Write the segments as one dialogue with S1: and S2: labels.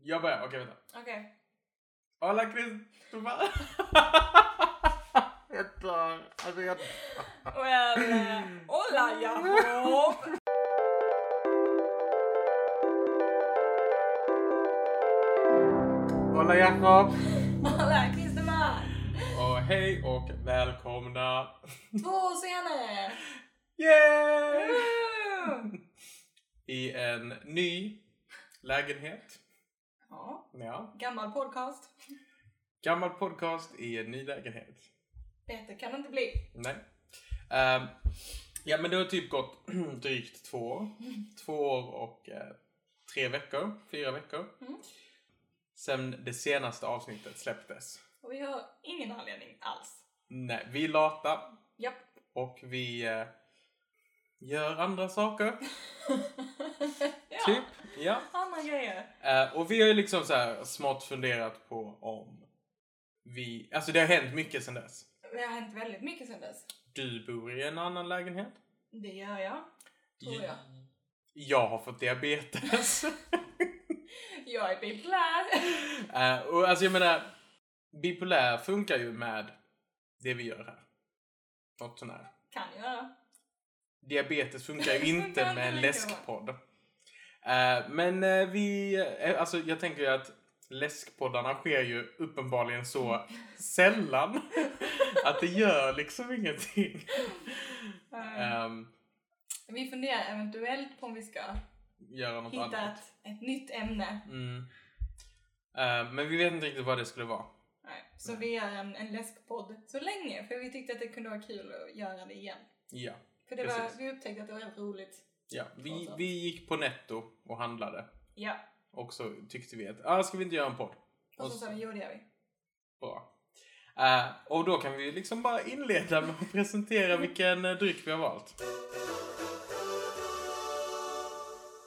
S1: Jag börjar, okej vänta.
S2: Okej.
S1: Hola Kristoffer! jag dör. Alltså jag...
S2: Well, eh, hola Jakob!
S1: Hola Jakob!
S2: Hola Kristeman!
S1: Och hej och välkomna!
S2: Två år senare!
S1: Yay!
S2: Woo!
S1: I en ny lägenhet.
S2: Ja,
S1: Ja.
S2: gammal podcast.
S1: Gammal podcast i en ny lägenhet.
S2: Bättre kan det inte bli.
S1: Nej. Ehm, ja men det har typ gått drygt två år. Två år och eh, tre veckor. Fyra veckor.
S2: Mm.
S1: Sen det senaste avsnittet släpptes.
S2: Och vi har ingen anledning alls.
S1: Nej, vi är lata
S2: Japp.
S1: och vi eh, gör andra saker.
S2: ja,
S1: Typ. Ja.
S2: andra grejer.
S1: Eh, och vi har ju liksom så här smått funderat på om vi... Alltså det har hänt mycket sedan dess.
S2: Det har hänt väldigt mycket sedan dess.
S1: Du bor i en annan lägenhet.
S2: Det gör jag. Tror jag.
S1: Jag har fått diabetes.
S2: Jag är bipolär.
S1: Eh, och alltså jag menar, bipolär funkar ju med det vi gör här. Något sånt här.
S2: Kan göra.
S1: Diabetes funkar ju
S2: Funkar
S1: inte
S2: inte
S1: med en
S2: lika
S1: läskpodd. Eh, men eh, vi, eh, alltså jag tänker ju att läskpoddarna sker ju uppenbarligen så sällan att det gör liksom ingenting.
S2: Eh,
S1: Um,
S2: vi funderar eventuellt på om vi ska
S1: göra något
S2: hitta
S1: annat.
S2: ett, ett nytt ämne.
S1: Mm. Eh, men vi vet inte riktigt vad det skulle vara.
S2: Nej, så vi gör en, en läskpodd så länge för vi tyckte att det kunde vara kul att göra det igen.
S1: Ja,
S2: För det
S1: Precis.
S2: var, vi upptäckte att det var jävligt roligt.
S1: ja. Vi,
S2: Trots allt.
S1: vi gick på netto och handlade.
S2: Ja,
S1: Och så tyckte vi att, ah, ska vi inte göra en podd?
S2: och så sa vi jo det gör vi.
S1: Bra. Eh, och då kan vi ju liksom bara inleda med att presentera vilken eh, dryck vi har valt.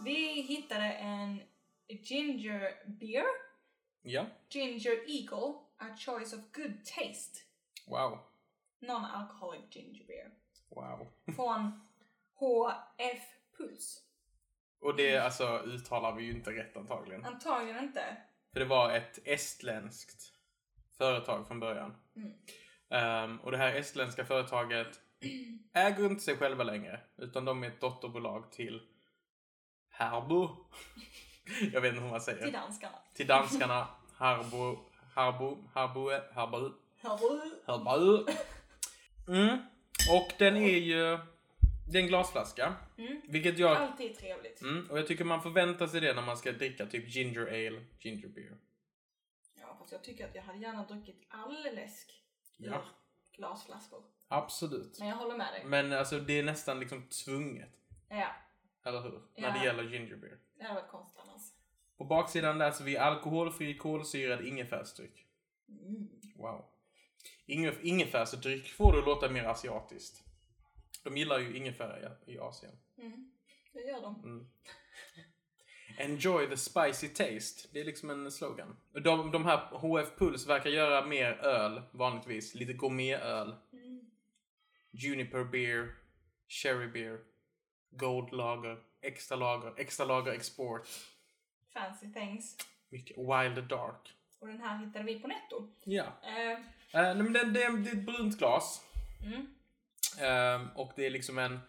S2: Vi hittade en ginger beer,
S1: Ja,
S2: ginger eagle, a choice of good taste,
S1: wow.
S2: non-alcoholic ginger beer.
S1: Wow.
S2: Från HF Puls.
S1: Och det alltså uttalar vi ju inte rätt
S2: Mm.
S1: antagligen.
S2: Antagligen inte.
S1: För det var ett estländskt företag från början.
S2: Mm.
S1: Ehm, och det här estländska företaget äger inte sig själva längre. Utan de är ett dotterbolag till Harbo. Jag vet inte hur man säger.
S2: Till danskarna.
S1: till danskarna Harbo, Harbo, Harbo, Harbo,
S2: Hörru!
S1: Harbo. Mm. Och den är ju, det är en glasflaska.
S2: Mm.
S1: Vilket jag,
S2: Alltid trevligt.
S1: mm, och jag tycker man förväntar sig det när man ska dricka typ ginger ale, ginger beer.
S2: Ja, fast jag tycker att jag hade gärna druckit all läsk i
S1: Ja.
S2: glasflaskor.
S1: Absolut.
S2: Men jag håller med dig.
S1: Men alltså det är nästan liksom tvunget,
S2: Ja,
S1: eller hur?
S2: Ja.
S1: När det gäller ginger beer.
S2: det här var konstigt annars.
S1: På baksidan läser vi alkoholfri kolsyrad ingefärsdryck.
S2: Mm.
S1: Wow. Ingef- Ingefärsdryck får det låta mer asiatiskt. De gillar ju ingefära i, i Asien.
S2: Mm. Det gör de.
S1: Mm. Enjoy the spicy taste. Det är liksom en slogan. De, de här HF Puls verkar göra mer öl vanligtvis. Lite gourmetöl.
S2: Mm.
S1: Juniper beer. Cherry beer. Gold lager. Extra lager. Extra lager export.
S2: Fancy things.
S1: Mycket wild dark.
S2: Och den här hittade vi på Netto.
S1: Ja.
S2: Eh,
S1: Eh, nej, men det, det, det är ett brunt glas.
S2: mm.
S1: Ehm, och det är liksom en...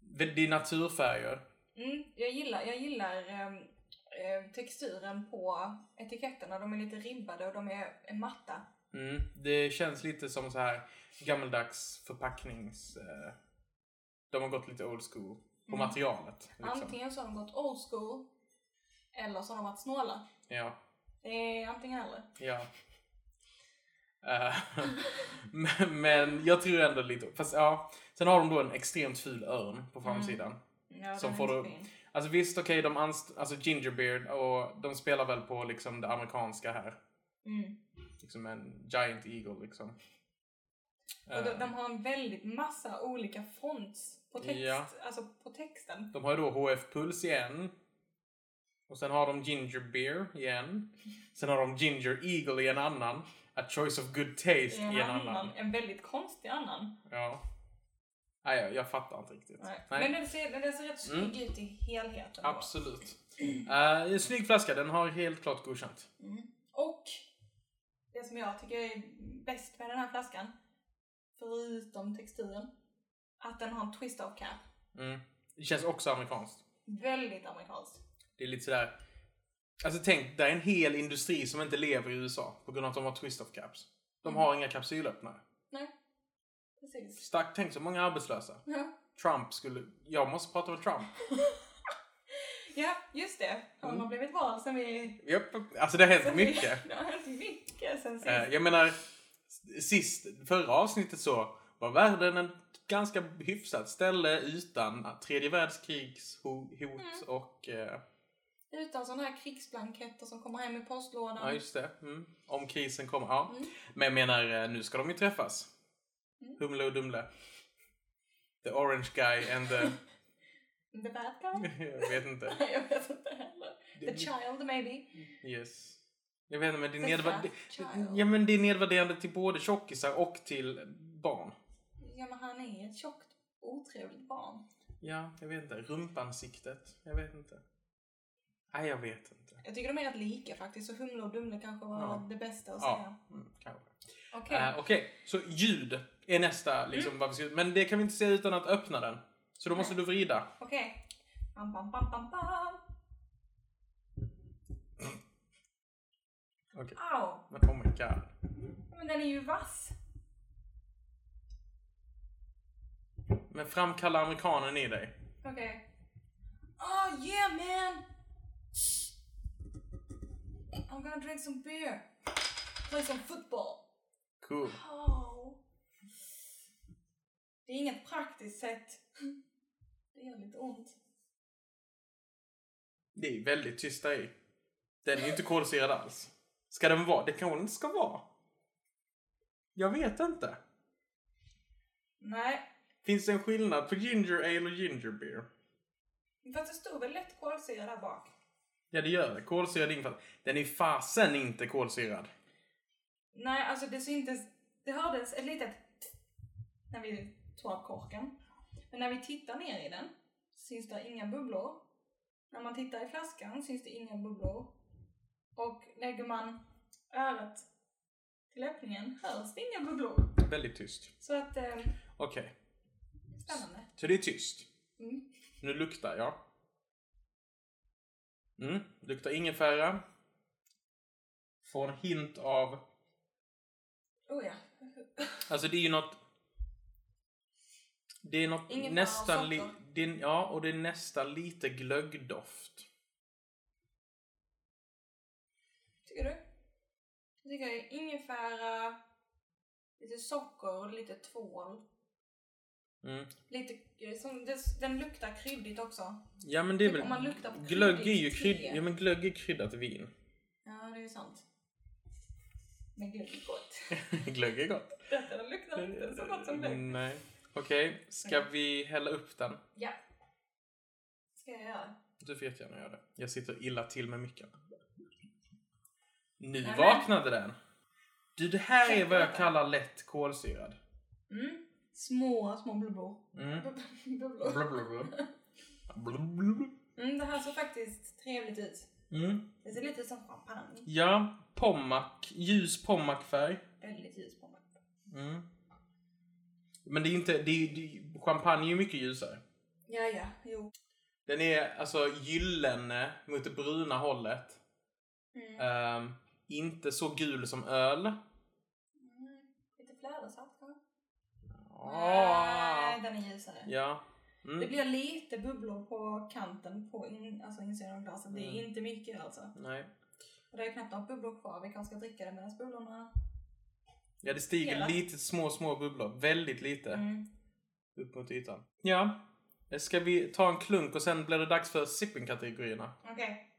S1: Det är naturfärger.
S2: Mm. Jag gillar, jag gillar ehm, eh, texturen på etiketterna. De är lite ribbade och de är är matta.
S1: Mm. Det känns lite som så här gammaldags förpacknings... Eh, de har gått lite old school på
S2: Mm.
S1: materialet. Liksom.
S2: Antingen så har de gått old school eller så har de varit snåla.
S1: Ja,
S2: Det är antingen eller.
S1: ja. Eh, men, men jag tror ändå lite... Fast ja. Sen har de då en extremt ful örn på
S2: Mm.
S1: framsidan.
S2: Ja,
S1: Som
S2: den är
S1: får
S2: inte
S1: du-
S2: fin.
S1: Alltså visst, okej, de anst- alltså Gingerbeard och de spelar väl på liksom det amerikanska här.
S2: Mm.
S1: Liksom en giant eagle liksom.
S2: Och de,
S1: Eh,
S2: de har en väldigt massa olika fonts på, text,
S1: Ja.
S2: alltså på texten.
S1: De har ju då HF Puls igen. Och sen har de Ginger Beer igen. Sen har de Ginger Eagle i en annan. A Choice of Good Taste i en annan.
S2: En väldigt konstig annan.
S1: Ja. Nej, jag, jag fattar inte riktigt.
S2: Nej.
S1: Nej. Mm.
S2: Men den ser, den ser rätt snygg ut i helheten. då.
S1: Absolut. Eh, en snygg flaska, den har helt klart godkänt.
S2: Mm. Och det som jag tycker är bäst med den här flaskan, förutom texturen, att den har en twist av cap.
S1: Mm. Det känns också amerikanskt.
S2: Väldigt amerikanskt.
S1: Det är lite sådär... Alltså tänk, det är en hel industri som inte lever i USA på grund av att de har twist of caps. De har inga kapsylöppnare.
S2: Nej, precis.
S1: Starkt tänk så många arbetslösa.
S2: Ja.
S1: Trump skulle... Jag måste prata med Trump.
S2: Ja, just det. Han har blivit vald sen vi...
S1: Japp. Alltså det har hänt
S2: sen vi-
S1: Mm. mycket.
S2: Det har hänt mycket sen sist.
S1: Eh, Jag menar, sist, förra avsnittet så var världen en ganska hyfsat ställe utan tredje världskrigshot
S2: Mm.
S1: och... eh,
S2: Utan sådana här krigsblanketter som kommer hem i postlådan.
S1: Ja, just det. Mm. Om krisen kommer, ja.
S2: Mm.
S1: Men jag menar, eh, nu ska de ju träffas. Humle och Dumle. The orange guy and the...
S2: The bad guy?
S1: jag vet inte.
S2: Nej, jag vet inte heller. The
S1: Det-
S2: child maybe?
S1: Yes. Jag vet inte, men det är,
S2: The
S1: nedvär...
S2: fat child.
S1: ja, men det är nedvärderande till både tjockisar och till barn.
S2: Ja, men han är ett tjockt, otrevligt barn.
S1: Ja, jag vet inte. Rumpansiktet. Jag vet inte. Nej, jag vet inte.
S2: Jag tycker de är rätt lika faktiskt, så Humle och Dumle kanske var
S1: Ja.
S2: det bästa att
S1: Ja,
S2: säga.
S1: mm, kanske.
S2: Okej.
S1: Eh, Okej, så ljud är nästa. Liksom, vad vi ska... Men det kan vi inte säga utan att öppna den. Så då måste du vrida.
S2: Okej. Bam, bam, bam, bam, bam.
S1: Okej.
S2: Au!
S1: Men oh my god.
S2: Men den är ju vass!
S1: Men framkalla amerikanen i dig.
S2: Okej. Oh yeah man! I'm gonna drink some beer. Play some football.
S1: Cool.
S2: Oh. Det är inget praktiskt sätt. Det gör lite ont.
S1: Det är väldigt tysta i. Den är ju inte kolsyrad alls. Ska den vara? Det kanske den inte ska vara. Jag vet inte.
S2: Nej,
S1: Finns det en skillnad på ginger ale och ginger beer?
S2: fast det stod väl lätt kolsyra där bak.
S1: Ja, det gör det. Kolsyrad infall. Den är fasen inte kolsyrad.
S2: Nej, alltså det syntes... Det hördes ett litet t- när vi tog av korken. Men när vi tittar ner i den syns det inga bubblor. När man tittar i flaskan syns det inga bubblor. Och lägger man örat till öppningen hörs det inga bubblor.
S1: Väldigt tyst.
S2: Så att, eh,
S1: Okej,
S2: spännande.
S1: så det är tyst.
S2: Mm.
S1: Nu luktar jag. Mm, luktar ingefära. Får en hint av...
S2: Oh ja.
S1: Alltså det är ju något... Det är något
S2: Ingefära och
S1: nästan... Li,
S2: socker.
S1: det är, ja, och det är nästan lite glöggdoft.
S2: Tycker du? Jag tycker det är ingefära, lite socker och lite tvål.
S1: Mm.
S2: Lite, eh, som, det, den luktar kryddigt också.
S1: Ja men det är
S2: Typ
S1: väl...
S2: om man luktar på
S1: glögg är
S2: kryddigt
S1: ju
S2: te.
S1: krydd, ja, men glögg är kryddat vin.
S2: Ja, det är ju sant. Men gud, vad gott.
S1: glögg är gott.
S2: Detta luktar inte så gott som det.
S1: Nej. Okej, ska vi hälla upp den?
S2: Ja. Ska jag göra?
S1: Du får jättegärna göra det. Jag sitter illa till med micken. Nu
S2: Nämen.
S1: vaknade den! Du, det här är vad jag
S2: Helvete.
S1: kallar lätt kolsyrad.
S2: Mm. Små, små bubblor.
S1: Mm.
S2: Bubblor.
S1: Blablabla. Blablabla.
S2: Mm, det här såg faktiskt trevligt ut.
S1: Mm.
S2: Det ser lite ut som champagne.
S1: Ja, pommack. Ljus pommackfärg.
S2: Väldigt ljus på mig.
S1: Mm. Men det är ju inte... Det är, det, champagne är ju mycket ljusare.
S2: Ja, ja, jo.
S1: Den är alltså gyllene mot det bruna hållet.
S2: Mm.
S1: Ehm, inte så gul som öl.
S2: Mm. Lite flädersalt kanske?
S1: Ah.
S2: Nej, den är ljusare.
S1: Ja.
S2: Det
S1: Mm.
S2: blir lite bubblor på kanten på in, alltså insidan av glaset. Det är inte mycket alltså.
S1: Nej.
S2: Och det är knappt några bubblor kvar. Vi kanske ska dricka det medan bubblorna...
S1: Ja, det stiger
S2: Hela.
S1: lite små, små bubblor. Väldigt lite
S2: Mm.
S1: upp mot ytan. Ja. Ska vi ta en klunk och sen blir det dags för sipping-kategorierna?
S2: Okej.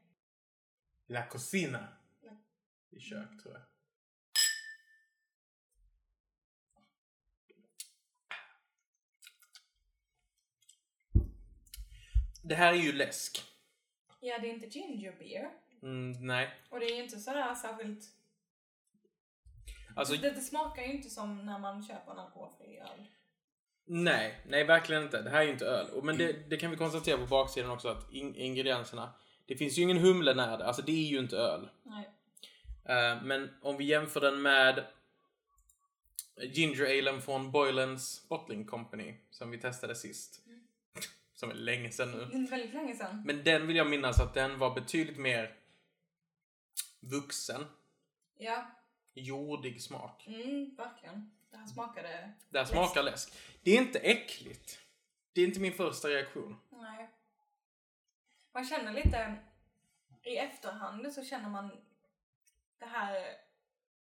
S1: La cocina.
S2: Nej.
S1: I kök, tror jag. Det här är ju läsk.
S2: Ja, det är inte ginger beer.
S1: Mm, nej.
S2: Och det är ju inte sådär särskilt...
S1: Alltså,
S2: det, det smakar ju inte som när man köper en alkoholfri öl.
S1: Mm. Nej, nej verkligen inte. Det här är ju inte öl. Och- Men det, det kan vi konstatera på baksidan också att in, ingredienserna Det finns ju ingen humle nära det. Alltså det är ju inte öl.
S2: Nej.
S1: Eh, men om vi jämför den med ginger alen från Boylens Bottling Company som vi testade sist. Som är länge sedan nu.
S2: Det är väldigt länge sedan.
S1: Men den vill jag minnas att den var betydligt mer vuxen.
S2: Ja,
S1: Jordig smak.
S2: mm, verkligen. Det här smakade...
S1: Det här smakar läsk. Det är inte äckligt. Det är inte min första reaktion.
S2: Nej. Man känner lite... I efterhand så känner man det här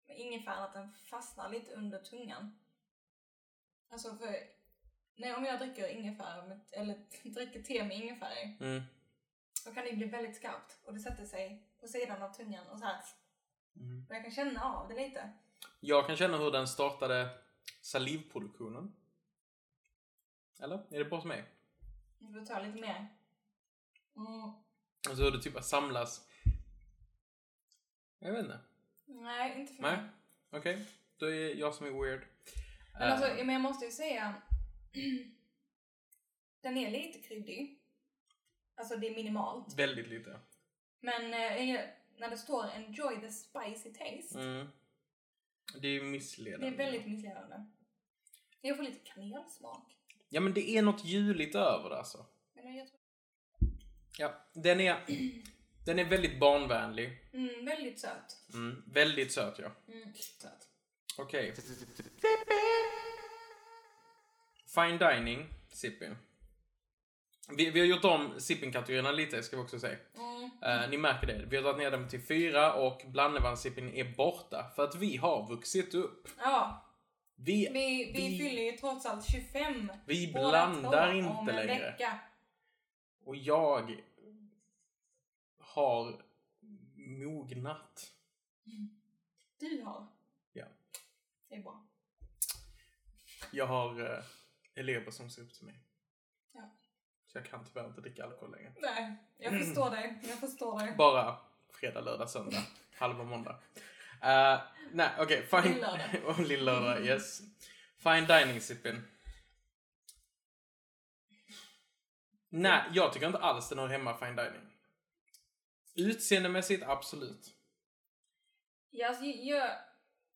S2: med ingefäran att den fastnar lite under tungan. Alltså för... Nej, om jag dricker ingefära, med, eller dricker te med ingefära i,
S1: Mm.
S2: då kan det bli väldigt skarpt och det sätter sig på sidan av tungan och så här.
S1: Mm.
S2: Och jag kan känna av det lite.
S1: Jag kan känna hur den startade salivproduktionen. Eller? Är det bara som mig?
S2: Du får ta lite mer. Mm.
S1: Alltså hur det typ samlas. Jag vet inte.
S2: Nej, inte för
S1: Nej.
S2: mig.
S1: Okej. Då är jag som är weird.
S2: Men
S1: Eh,
S2: alltså, men jag måste ju säga. den är lite kryddig. Alltså det är minimalt.
S1: Väldigt lite.
S2: Men eh, jag- när det står enjoy the spicy taste.
S1: Mm. Det är ju
S2: Det
S1: missledande.
S2: är väldigt missledande. Jag får lite kanelsmak.
S1: Ja men det är något juligt över det alltså.
S2: Men jag tror...
S1: Ja, den är, den är väldigt barnvänlig.
S2: mm, väldigt söt.
S1: Mm, väldigt söt ja.
S2: Mm, söt.
S1: Okej. Fine dining, sipping. Vi, vi har gjort om sipping-kategorierna lite, ska vi också säga.
S2: Mm.
S1: Eh, ni märker det. Vi har dragit ner dem till fyra och blandevanssipping är borta. För att vi har vuxit upp.
S2: Ja,
S1: Vi,
S2: vi, vi,
S1: Vi-
S2: fyller ju trots allt 25.
S1: vi
S2: båda
S1: blandar
S2: två
S1: inte
S2: Om en
S1: längre.
S2: vecka.
S1: Och jag har mognat.
S2: Du har.
S1: Ja.
S2: Det är bra.
S1: Jag har eh, elever som ser upp till mig.
S2: Ja.
S1: Så jag kan tyvärr inte dricka alkohol längre.
S2: Nej, jag förstår dig. Jag förstår dig.
S1: Bara fredag, lördag, söndag, halva måndag. Eh, nej, okej. fine.
S2: Lillördag.
S1: Och Lillördag, yes. Fine dining sipping. Nej, jag tycker inte alls den hör hemma fine dining. Utseendemässigt, absolut.
S2: Ja, alltså, jag,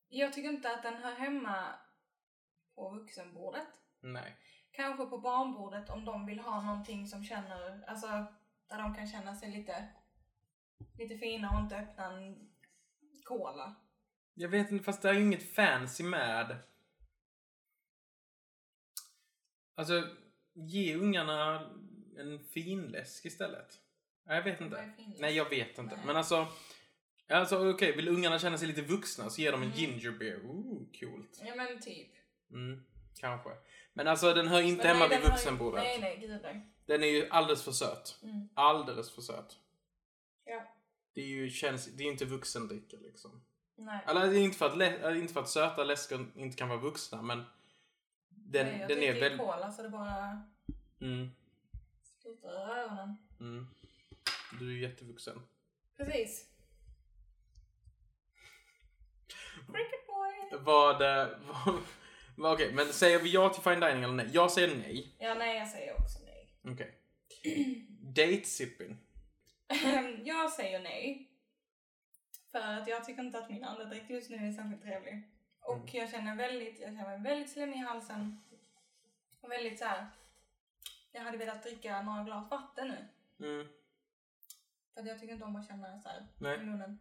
S2: jag tycker inte att den hör hemma på vuxenbordet.
S1: Nej.
S2: Kanske på barnbordet om de vill ha någonting som känner, alltså där de kan känna sig lite, lite fina och inte öppna en cola.
S1: Jag vet inte, fast det är ju inget fancy med. Alltså, ge ungarna en fin läsk istället. Nej, jag vet
S2: Vad
S1: inte.
S2: är finläsk?
S1: Nej, jag vet inte.
S2: Nej.
S1: Men alltså, alltså okej, vill ungarna känna sig lite vuxna så ge dem en
S2: Mm.
S1: ginger beer. Ooh, coolt.
S2: Ja men typ.
S1: Mm, kanske. Men alltså, den hör inte
S2: Men
S1: hemma
S2: nej,
S1: vid
S2: den hör-
S1: vuxenbordet.
S2: Nej, nej, gud nej.
S1: Den är ju alldeles för söt.
S2: Mm.
S1: Alldeles för söt.
S2: Ja,
S1: Det är ju känns, det är inte vuxendricka liksom.
S2: nej.
S1: Eller det är inte för att, lä- eller inte för att söta läskor inte kan vara vuxna, men den,
S2: nej, jag
S1: den är
S2: dricker
S1: väldigt...
S2: cola så det bara
S1: Mm,
S2: sprutar ur öronen.
S1: mm. Du är ju jättevuxen.
S2: Precis. Cricket boy!
S1: Vad... eh, vad, vad Okej, men säger vi ja till fine dining eller nej? Jag säger nej.
S2: Ja, nej, jag säger också nej.
S1: Okej. Date sipping.
S2: Ehm, jag säger nej. För att jag tycker inte att min andedräkt just nu är särskilt trevlig. Och
S1: Mm.
S2: jag känner väldigt, jag känner mig väldigt slem i halsen. Och väldigt så här. Jag hade velat dricka några glas vatten nu.
S1: Mm.
S2: För att jag tycker inte om att känna så här
S1: Nej.
S2: i munnen.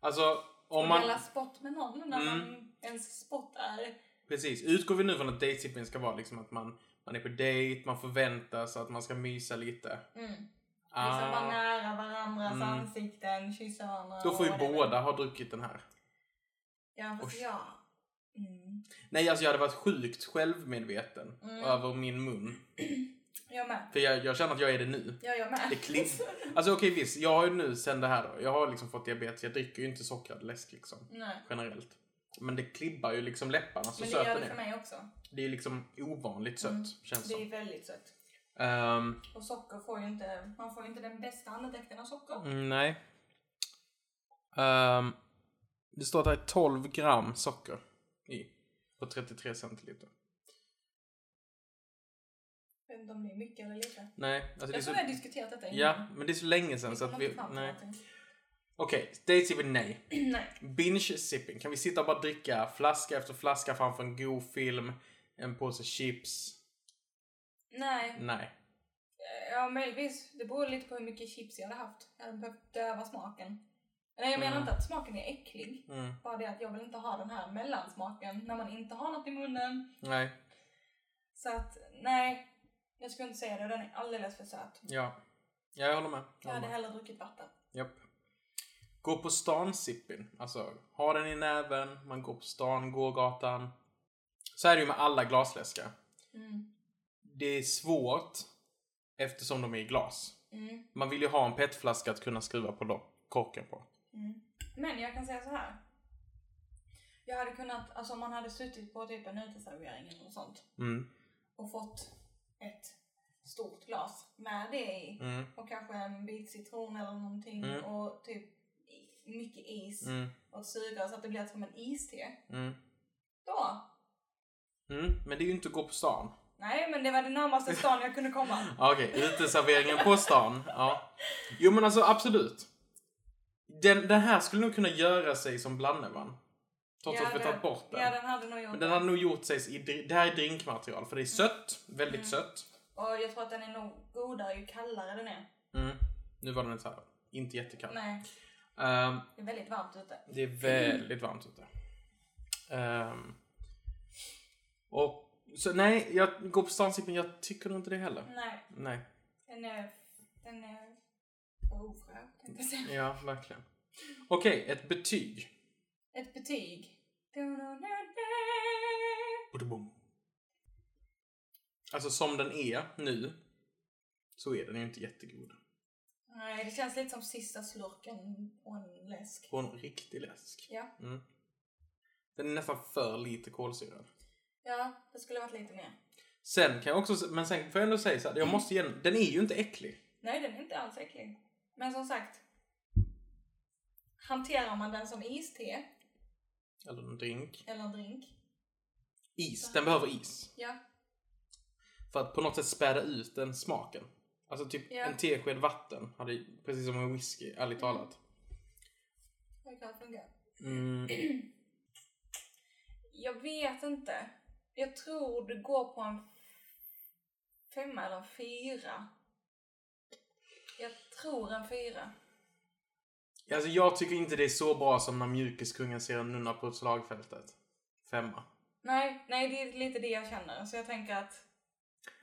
S1: Alltså, om
S2: och
S1: man...
S2: dela spott med någon när
S1: Mm.
S2: man ens spott är...
S1: Precis. Utgår vi nu från att date sipping ska vara liksom att man, man är på date, man förväntar sig att man ska mysa lite.
S2: Mm. Liksom vara
S1: Ah,
S2: nära varandras
S1: Mm.
S2: ansikten, kyssa varandra.
S1: då får ju
S2: och whatever.
S1: båda ha druckit den här.
S2: Ja, fast
S1: Usch.
S2: jag... Mm.
S1: Nej, alltså jag hade varit sjukt självmedveten
S2: Mm.
S1: över min mun.
S2: Jag med.
S1: För jag, jag känner att jag är det nu.
S2: Ja, jag med.
S1: Det klipp. Alltså okej visst, jag har ju nu sen det här då, jag har liksom fått diabetes, jag dricker ju inte sockrad läsk liksom.
S2: Nej.
S1: Generellt. Men det klibbar ju liksom läpparna så
S2: Men det
S1: söt
S2: gör
S1: den
S2: det för
S1: är.
S2: mig också.
S1: Det är liksom ovanligt sött,
S2: Mm.
S1: känns
S2: Det
S1: som.
S2: är väldigt sött.
S1: Ehm,
S2: Och socker får ju inte, man får ju inte den bästa andedräkten av socker.
S1: mm, nej. Ehm, det står att det är 12 gram socker i. På 33 centiliter.
S2: vet inte om det är mycket eller lite.
S1: Nej, alltså det är
S2: jag
S1: så...
S2: tror vi har diskuterat detta innan.
S1: Ja, men det är så länge sedan
S2: Vi
S1: så att
S2: kom
S1: vi...
S2: inte fram till
S1: Nej.
S2: någonting.
S1: Okej, dates är vi nej.
S2: nej.
S1: Binge sipping. Kan vi sitta och bara dricka flaska efter flaska framför en god film, en påse chips?
S2: Nej.
S1: Nej.
S2: Ja, möjligtvis. Det beror lite på hur mycket chips jag hade haft. Jag hade behövt döva smaken. Nej, jag menar
S1: Mm.
S2: inte att smaken är äcklig.
S1: Mm.
S2: Bara det att jag vill inte ha den här mellansmaken när man inte har något i munnen.
S1: Nej.
S2: Så att, nej. Jag skulle inte säga det. Den är alldeles för söt.
S1: Ja. Ja, jag håller med. Jag
S2: Jag
S1: håller
S2: hade
S1: med.
S2: hellre druckit vatten.
S1: Japp. Gå på stan sippin. Alltså, ha den i näven, man går på stan, gågatan. Så här är det ju med alla glasläskar.
S2: Mm.
S1: Det är svårt eftersom de är i glas.
S2: Mm.
S1: Man vill ju ha en petflaska att kunna skruva på lo- korken på.
S2: Mm. Men jag kan säga så här. Jag hade kunnat, alltså om man hade suttit på typ en uteservering eller något sånt
S1: Mm.
S2: och fått ett stort glas med det i.
S1: Mm.
S2: Och kanske en bit citron eller någonting
S1: Mm.
S2: och typ i- mycket is
S1: Mm.
S2: och ett sugrör så att det blir som en iste.
S1: Mm.
S2: Då!
S1: Mm. Men det är ju inte att gå på stan.
S2: Nej men det var det närmaste stan jag kunde komma.
S1: Ja, Okej, uteserveringen på stan. Ja. Jo men alltså absolut. Den, den här skulle nog kunna göra sig som blandnävan. Trots
S2: Ja,
S1: att vi
S2: den-
S1: tagit bort den.
S2: Ja den hade nog gjort
S1: Men den
S2: det.
S1: hade nog gjort sig i... dri- Det här är drinkmaterial för det är sött. Väldigt
S2: Mm.
S1: sött.
S2: Och jag tror att den är nog godare ju kallare den är.
S1: Mm. Nu var den inte så här, inte jättekall.
S2: Nej,
S1: Ehm,
S2: det är väldigt varmt ute.
S1: det är väldigt varmt ute. Ehm, och så nej, jag går på stansippning. Jag tycker nog inte det heller.
S2: Nej,
S1: Nej.
S2: den är, den är för ofräsch tänkte jag säga.
S1: Ja, verkligen. Okej, ett betyg.
S2: Ett betyg.
S1: Boom. Alltså som den är nu så är den ju inte jättegod.
S2: Nej, det känns lite som sista slurken på en läsk.
S1: På en riktig läsk.
S2: Ja.
S1: Mm. Den är nästan för lite kolsyrad.
S2: Ja, det skulle varit lite mer.
S1: Sen kan jag också, men sen får jag ändå säga så
S2: Mm.
S1: här, jag måste igen, den är ju inte äcklig.
S2: Nej, den är inte alls äcklig. Men som sagt. Hanterar man den som iste
S1: Eller en drink.
S2: eller en drink.
S1: Is, den behöver is.
S2: Ja.
S1: För att på något sätt späda ut den smaken. Alltså typ
S2: Ja. Mm.
S1: en tesked vatten, hade, ju- precis som en whisky, ärligt talat.
S2: Det kan funka.
S1: Mm.
S2: Jag vet inte. Jag tror det går på en femma eller en fyra. Jag tror en fyra.
S1: Alltså jag tycker inte det är så bra som när mjukiskungen ser en nunna på slagfältet. Femma.
S2: Nej, nej, det är lite det jag känner. Så jag tänker att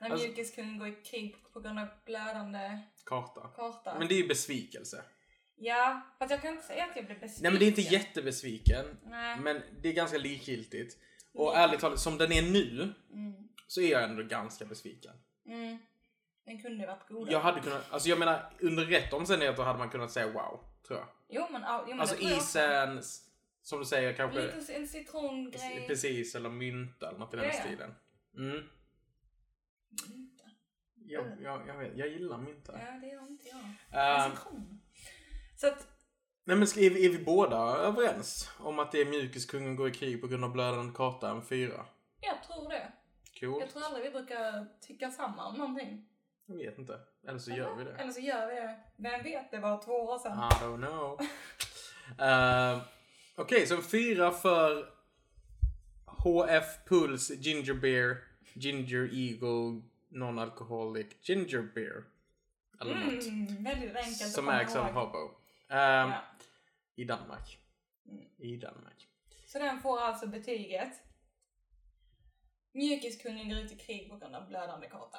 S2: när
S1: Alltså-
S2: mjukiskunden går i krig på grund av blödande
S1: Karta.
S2: karta.
S1: Men det är ju besvikelse.
S2: Ja, fast jag kan inte säga att jag blev besviken.
S1: Nej men det är inte jättebesviken.
S2: Nej.
S1: Men det är ganska likgiltigt. Och
S2: Mm.
S1: ärligt talat, som den är nu
S2: Mm.
S1: så är jag ändå ganska besviken.
S2: Mm. Den kunde varit godare.
S1: Jag hade kunnat, alltså jag menar under rätt omständigheter hade man kunnat säga wow, tror jag.
S2: Jo men, ja, jo, men
S1: alltså
S2: det tror Mm, jag också.
S1: isen, s- som du säger kanske,
S2: Lite en citrongrej.
S1: precis, eller mynta eller något i den
S2: Ja, ja.
S1: stilen. Mm. Jag, jag, jag, vet, jag gillar mynta.
S2: Ja, det gör inte jag.
S1: Ehm,
S2: Men citron. Så att,
S1: nej men ska, är, vi, är vi båda överens om att det är mjukiskungen går i krig på grund av blödande karta en fyra?
S2: jag tror det.
S1: Cool.
S2: Jag tror aldrig vi brukar tycka samma om någonting.
S1: Jag vet inte. Eller så gör vi det. Ah,
S2: Eller så gör vi det. Vem vet, det var två år sedan.
S1: I don't know. Eh, Okej, så en fyra för HF Puls Ginger Beer Ginger Eagle Non-Alcoholic Ginger Beer. Eller något.
S2: Mm, väldigt enkelt
S1: Som
S2: att
S1: ägs av
S2: komma ihåg.
S1: Hobo. Eh,
S2: Ja.
S1: I Danmark.
S2: Mm.
S1: I Danmark.
S2: Så den får alltså betyget. Mjukiskungen går ut i krig på grund av blödande karta.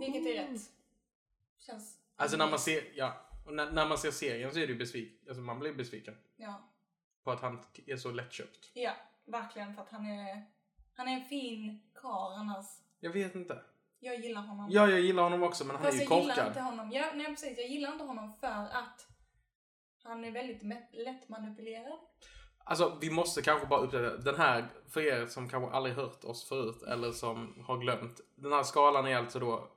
S2: Vilket är rätt. Känns...
S1: Alltså när man ser, ja. Och när, när man ser serien så är det ju besviken. Alltså man blir besviken.
S2: Ja.
S1: På att han t- är så lättköpt.
S2: Ja, verkligen. För att han är, han är en fin karl annars.
S1: Jag vet inte.
S2: Jag gillar honom.
S1: Ja, jag gillar honom också men han
S2: Fast
S1: är ju
S2: jag gillar inte
S1: korkad.
S2: honom. Ja, nej, precis. Jag gillar inte honom för att han är väldigt mä- lättmanipulerad.
S1: Alltså vi måste kanske bara uppdatera den här för er som kanske aldrig hört oss förut eller som har glömt. Den här skalan är alltså då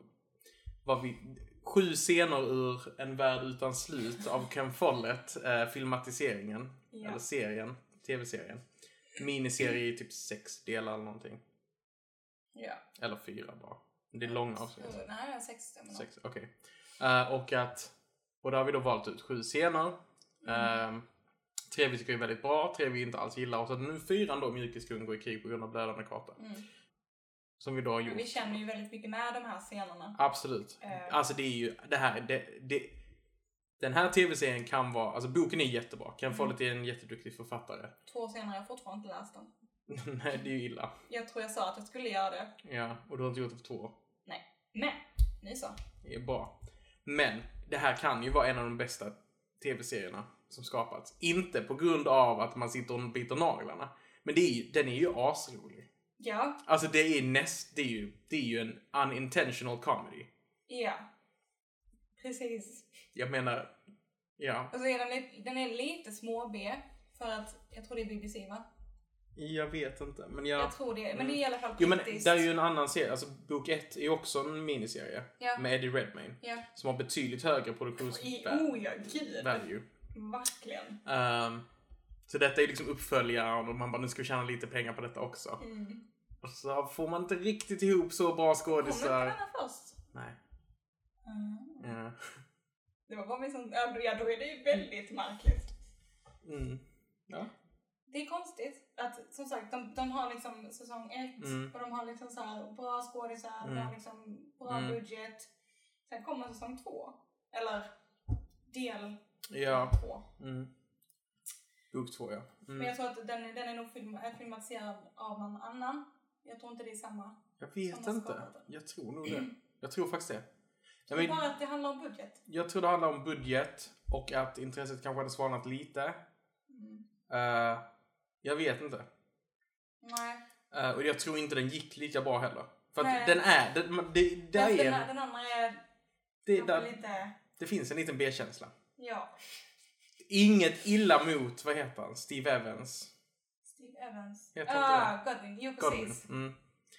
S1: vad vi, sju scener ur En värld utan slut av Ken Follett, eh, filmatiseringen,
S2: Ja.
S1: eller serien, tv-serien. Miniserie i typ sex delar eller någonting.
S2: Ja.
S1: Eller fyra bara. Det är långa avsnitt.
S2: Så, nej, det är sex stämmer nog.
S1: alltså. Sex, okej. Eh, och att... Och där har vi då valt ut sju scener.
S2: Mm.
S1: Eh, tre vi tycker är väldigt bra, tre vi inte alls gillar. Och så att nu fyran då, Mjukisgung, går i krig på grund av blödande karta.
S2: Mm.
S1: Som vi då har
S2: Men
S1: gjort.
S2: vi känner ju väldigt mycket med de här scenerna.
S1: Absolut.
S2: Eh.
S1: Alltså det är ju, det här, det, det, den här tv-serien kan vara, alltså boken är jättebra, kan få
S2: Mm.
S1: det till en jätteduktig författare.
S2: Två scener har jag fortfarande inte läst den.
S1: Nej, det är ju illa.
S2: Jag tror jag sa att jag skulle göra det.
S1: Ja, och du har inte gjort det på två år.
S2: Men, ni sa.
S1: Det är bra. Men, det här kan ju vara en av de bästa tv-serierna som skapats. Inte på grund av att man sitter och biter naglarna. Men det är ju, den är ju asrolig.
S2: Ja,
S1: Alltså det är näst, det är ju, det är ju en unintentional comedy.
S2: ja. Precis.
S1: Jag menar, ja.
S2: Och så är den, li- den är lite små-B. För att, jag tror det är BBC va?
S1: Jag vet inte, men jag...
S2: Jag tror det. Men det är i alla fall
S1: Jo men
S2: brittiskt.
S1: det är ju en annan serie, alltså bok 1 är ju också en miniserie
S2: Ja.
S1: med Eddie Redmayne
S2: Ja.
S1: som har betydligt högre
S2: I,
S1: produktionsvärde.
S2: oh ja, gud. Verkligen.
S1: Ehm, så detta är liksom uppföljaren och man bara nu ska vi tjäna lite pengar på detta också.
S2: Mm.
S1: Och så får man inte riktigt ihop så bra
S2: Kommer inte den
S1: skådisar.
S2: här först?
S1: Nej.
S2: Mm.
S1: Ja.
S2: Det var bara min sån... Ja, då- ja, då är det ju väldigt märkligt.
S1: Mm. Ja.
S2: Det är konstigt att som sagt de, de har liksom säsong ett
S1: Mm.
S2: och de har liksom så här bra skådisar,
S1: Mm.
S2: de har liksom bra
S1: Mm.
S2: budget. Sen kommer säsong två. Eller del
S1: Ja.
S2: två.
S1: Mm. Bok två ja.
S2: Men
S1: Mm.
S2: jag tror att den, den är nog film, är filmatiserad av någon annan. Jag tror inte det är samma.
S1: Jag
S2: som
S1: vet
S2: har
S1: inte.
S2: skapat
S1: Jag tror nog det. Jag tror faktiskt det.
S2: Det
S1: Jag,
S2: är
S1: men,
S2: bara att det handlar om budget.
S1: jag tror det handlar om budget och att intresset kanske hade svalnat lite.
S2: Mm.
S1: Eh, jag vet inte.
S2: Nej.
S1: Eh, och jag tror inte den gick lika bra heller. För
S2: Nej.
S1: att den är... Den, man- det, där
S2: Den,
S1: är,
S2: den,
S1: en-
S2: den andra är
S1: det,
S2: kanske
S1: där,
S2: lite...
S1: det finns en liten B-känsla.
S2: Ja.
S1: Inget illa mot, vad heter han, Steve Evans?
S2: Steve Evans.
S1: Heter han inte
S2: Ah, Godwin. Jo,
S1: Godwin.
S2: precis.
S1: Mm.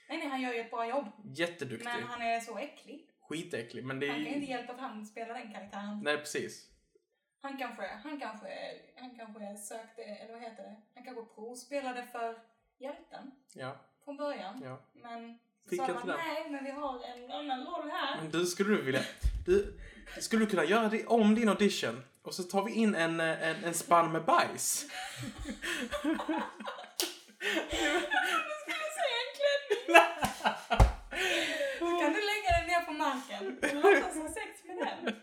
S2: Nej, nej, han gör ju ett bra jobb.
S1: Jätteduktig.
S2: Men han är så äcklig.
S1: Skitäcklig. Men det är
S2: Han kan ju
S1: ju...
S2: inte hjälpa att han spelar den karaktären.
S1: Nej, precis.
S2: Han kanske, han kanske, han kanske sökte, eller vad heter det? Han kanske provspelade för hjälten
S1: Ja,
S2: från början.
S1: ja.
S2: Men så
S1: Fick
S2: sa
S1: jag
S2: man
S1: till den.
S2: nej, men vi har en annan roll här.
S1: Men du, skulle du vilja... Du, skulle du kunna göra det om din audition och så tar vi in en, eh, en, en spann med bajs?
S2: Du skulle säga en klänning! Så kan du lägga den ner på marken och låtsas ha sex med den.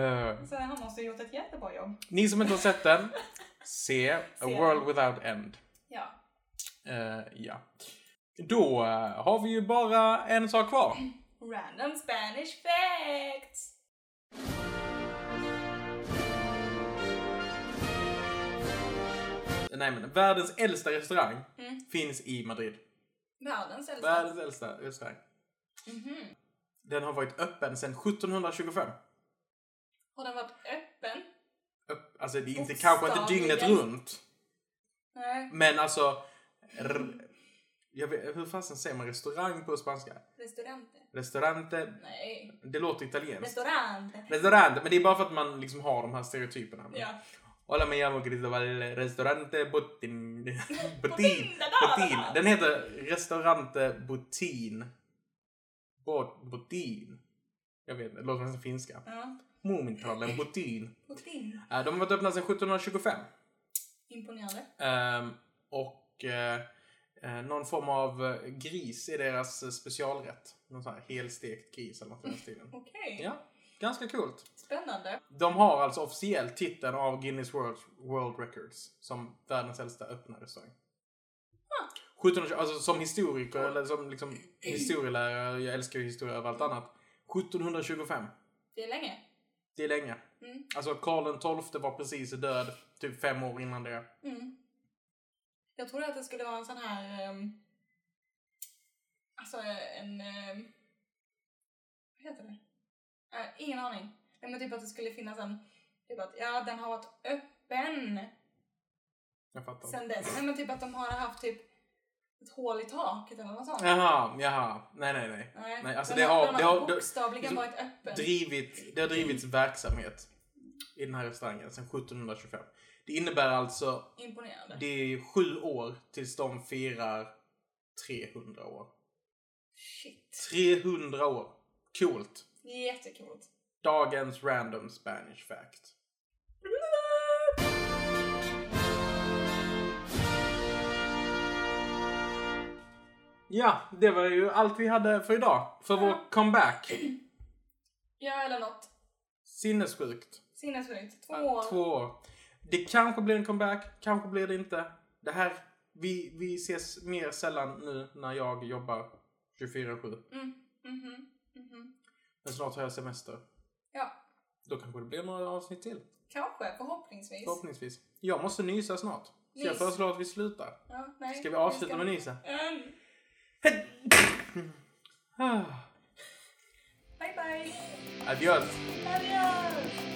S1: Eh,
S2: Så han måste ha gjort ett jättebra jobb.
S1: ni som inte har sett den, se A
S2: Se.
S1: World Without End.
S2: Ja.
S1: Eh, ja. Då eh, har vi ju bara en sak kvar.
S2: Random Spanish facts!
S1: Nej men, världens äldsta restaurang
S2: Mm.
S1: finns i Madrid.
S2: Världens äldsta.
S1: Världens äldsta restaurang.
S2: Mhm.
S1: Den har varit öppen sedan 1725.
S2: Har den varit öppen?
S1: Öpp, alltså det är inte,
S2: Bokstavligen.
S1: kanske inte dygnet runt.
S2: Nej.
S1: Men alltså... R- jag vet, hur fasen säger man restaurang på spanska?
S2: Restaurante?
S1: Restaurante.
S2: Nej.
S1: Det låter italienskt.
S2: Restaurante.
S1: Restaurante. Men det är bara för att man liksom har de här stereotyperna.
S2: Ja.
S1: Hola me llamo Cristobal Restaurante Botin. Botin.
S2: Botin, da, da, da,
S1: Botin.
S2: da.
S1: Den heter Restaurante Botin. Bot, botin. Jag vet inte, det låter nästan finska.
S2: Ja.
S1: Mumintrollen Botin.
S2: Putin.
S1: Eh, De har varit öppna sedan 1725.
S2: Imponerande.
S1: Ehm, och eh, eh, någon form av eh, gris är deras eh, specialrätt. Någon sån här helstekt gris eller något i den stilen.
S2: Okej.
S1: Ja, ganska coolt.
S2: Spännande.
S1: De har alltså officiellt titeln av Guinness World, World Records som världens äldsta öppna restaurang.
S2: Ah.
S1: 1720, alltså som historiker eller som liksom historielärare, jag älskar ju historia över allt annat. 1725,
S2: Det är länge.
S1: det är länge.
S2: Mm.
S1: Alltså Karl XII var precis död, typ fem år innan det.
S2: Mm. Jag trodde att det skulle vara en sån här... ehm, alltså en... ehm, vad heter det? Eh, ingen aning. Nej, men typ att det skulle finnas en... Typ att ja, den har varit öppen
S1: Jag fattar.
S2: sen dess. Nej, men typ att de har haft typ ett hål i taket eller något sånt.
S1: Jaha, jaha. Nej, nej, nej.
S2: Nej,
S1: Nej, alltså
S2: den
S1: det har-
S2: den
S1: det har- det-
S2: bokstavligen varit öppen.
S1: Drivit, det har drivits verksamhet i den här restaurangen sedan 1725. Det innebär alltså
S2: Imponerande.
S1: Det är sju år tills de firar 300 år.
S2: Shit.
S1: 300 år. Coolt.
S2: Jättecoolt.
S1: Dagens random Spanish fact. Ja, det var ju allt vi hade för idag. För vår comeback.
S2: Ja, eller något.
S1: Sinnessjukt.
S2: Sinnessjukt. Två år.
S1: Två år. Det kanske blir en comeback, kanske blir det inte. Det här, vi, vi ses mer sällan nu när jag jobbar 24-7.
S2: Mm. Mhm. Mhm.
S1: Men snart har jag semester.
S2: Ja,
S1: Då kanske det blir några avsnitt till.
S2: kanske. Förhoppningsvis.
S1: Förhoppningsvis. Jag måste nysa snart. Så jag
S2: Nys.
S1: föreslår att vi slutar.
S2: Ja, nej.
S1: Ska vi avsluta med nysa?
S2: Mm.
S1: Ah.
S2: Bye, bye.
S1: Adios!
S2: Adios!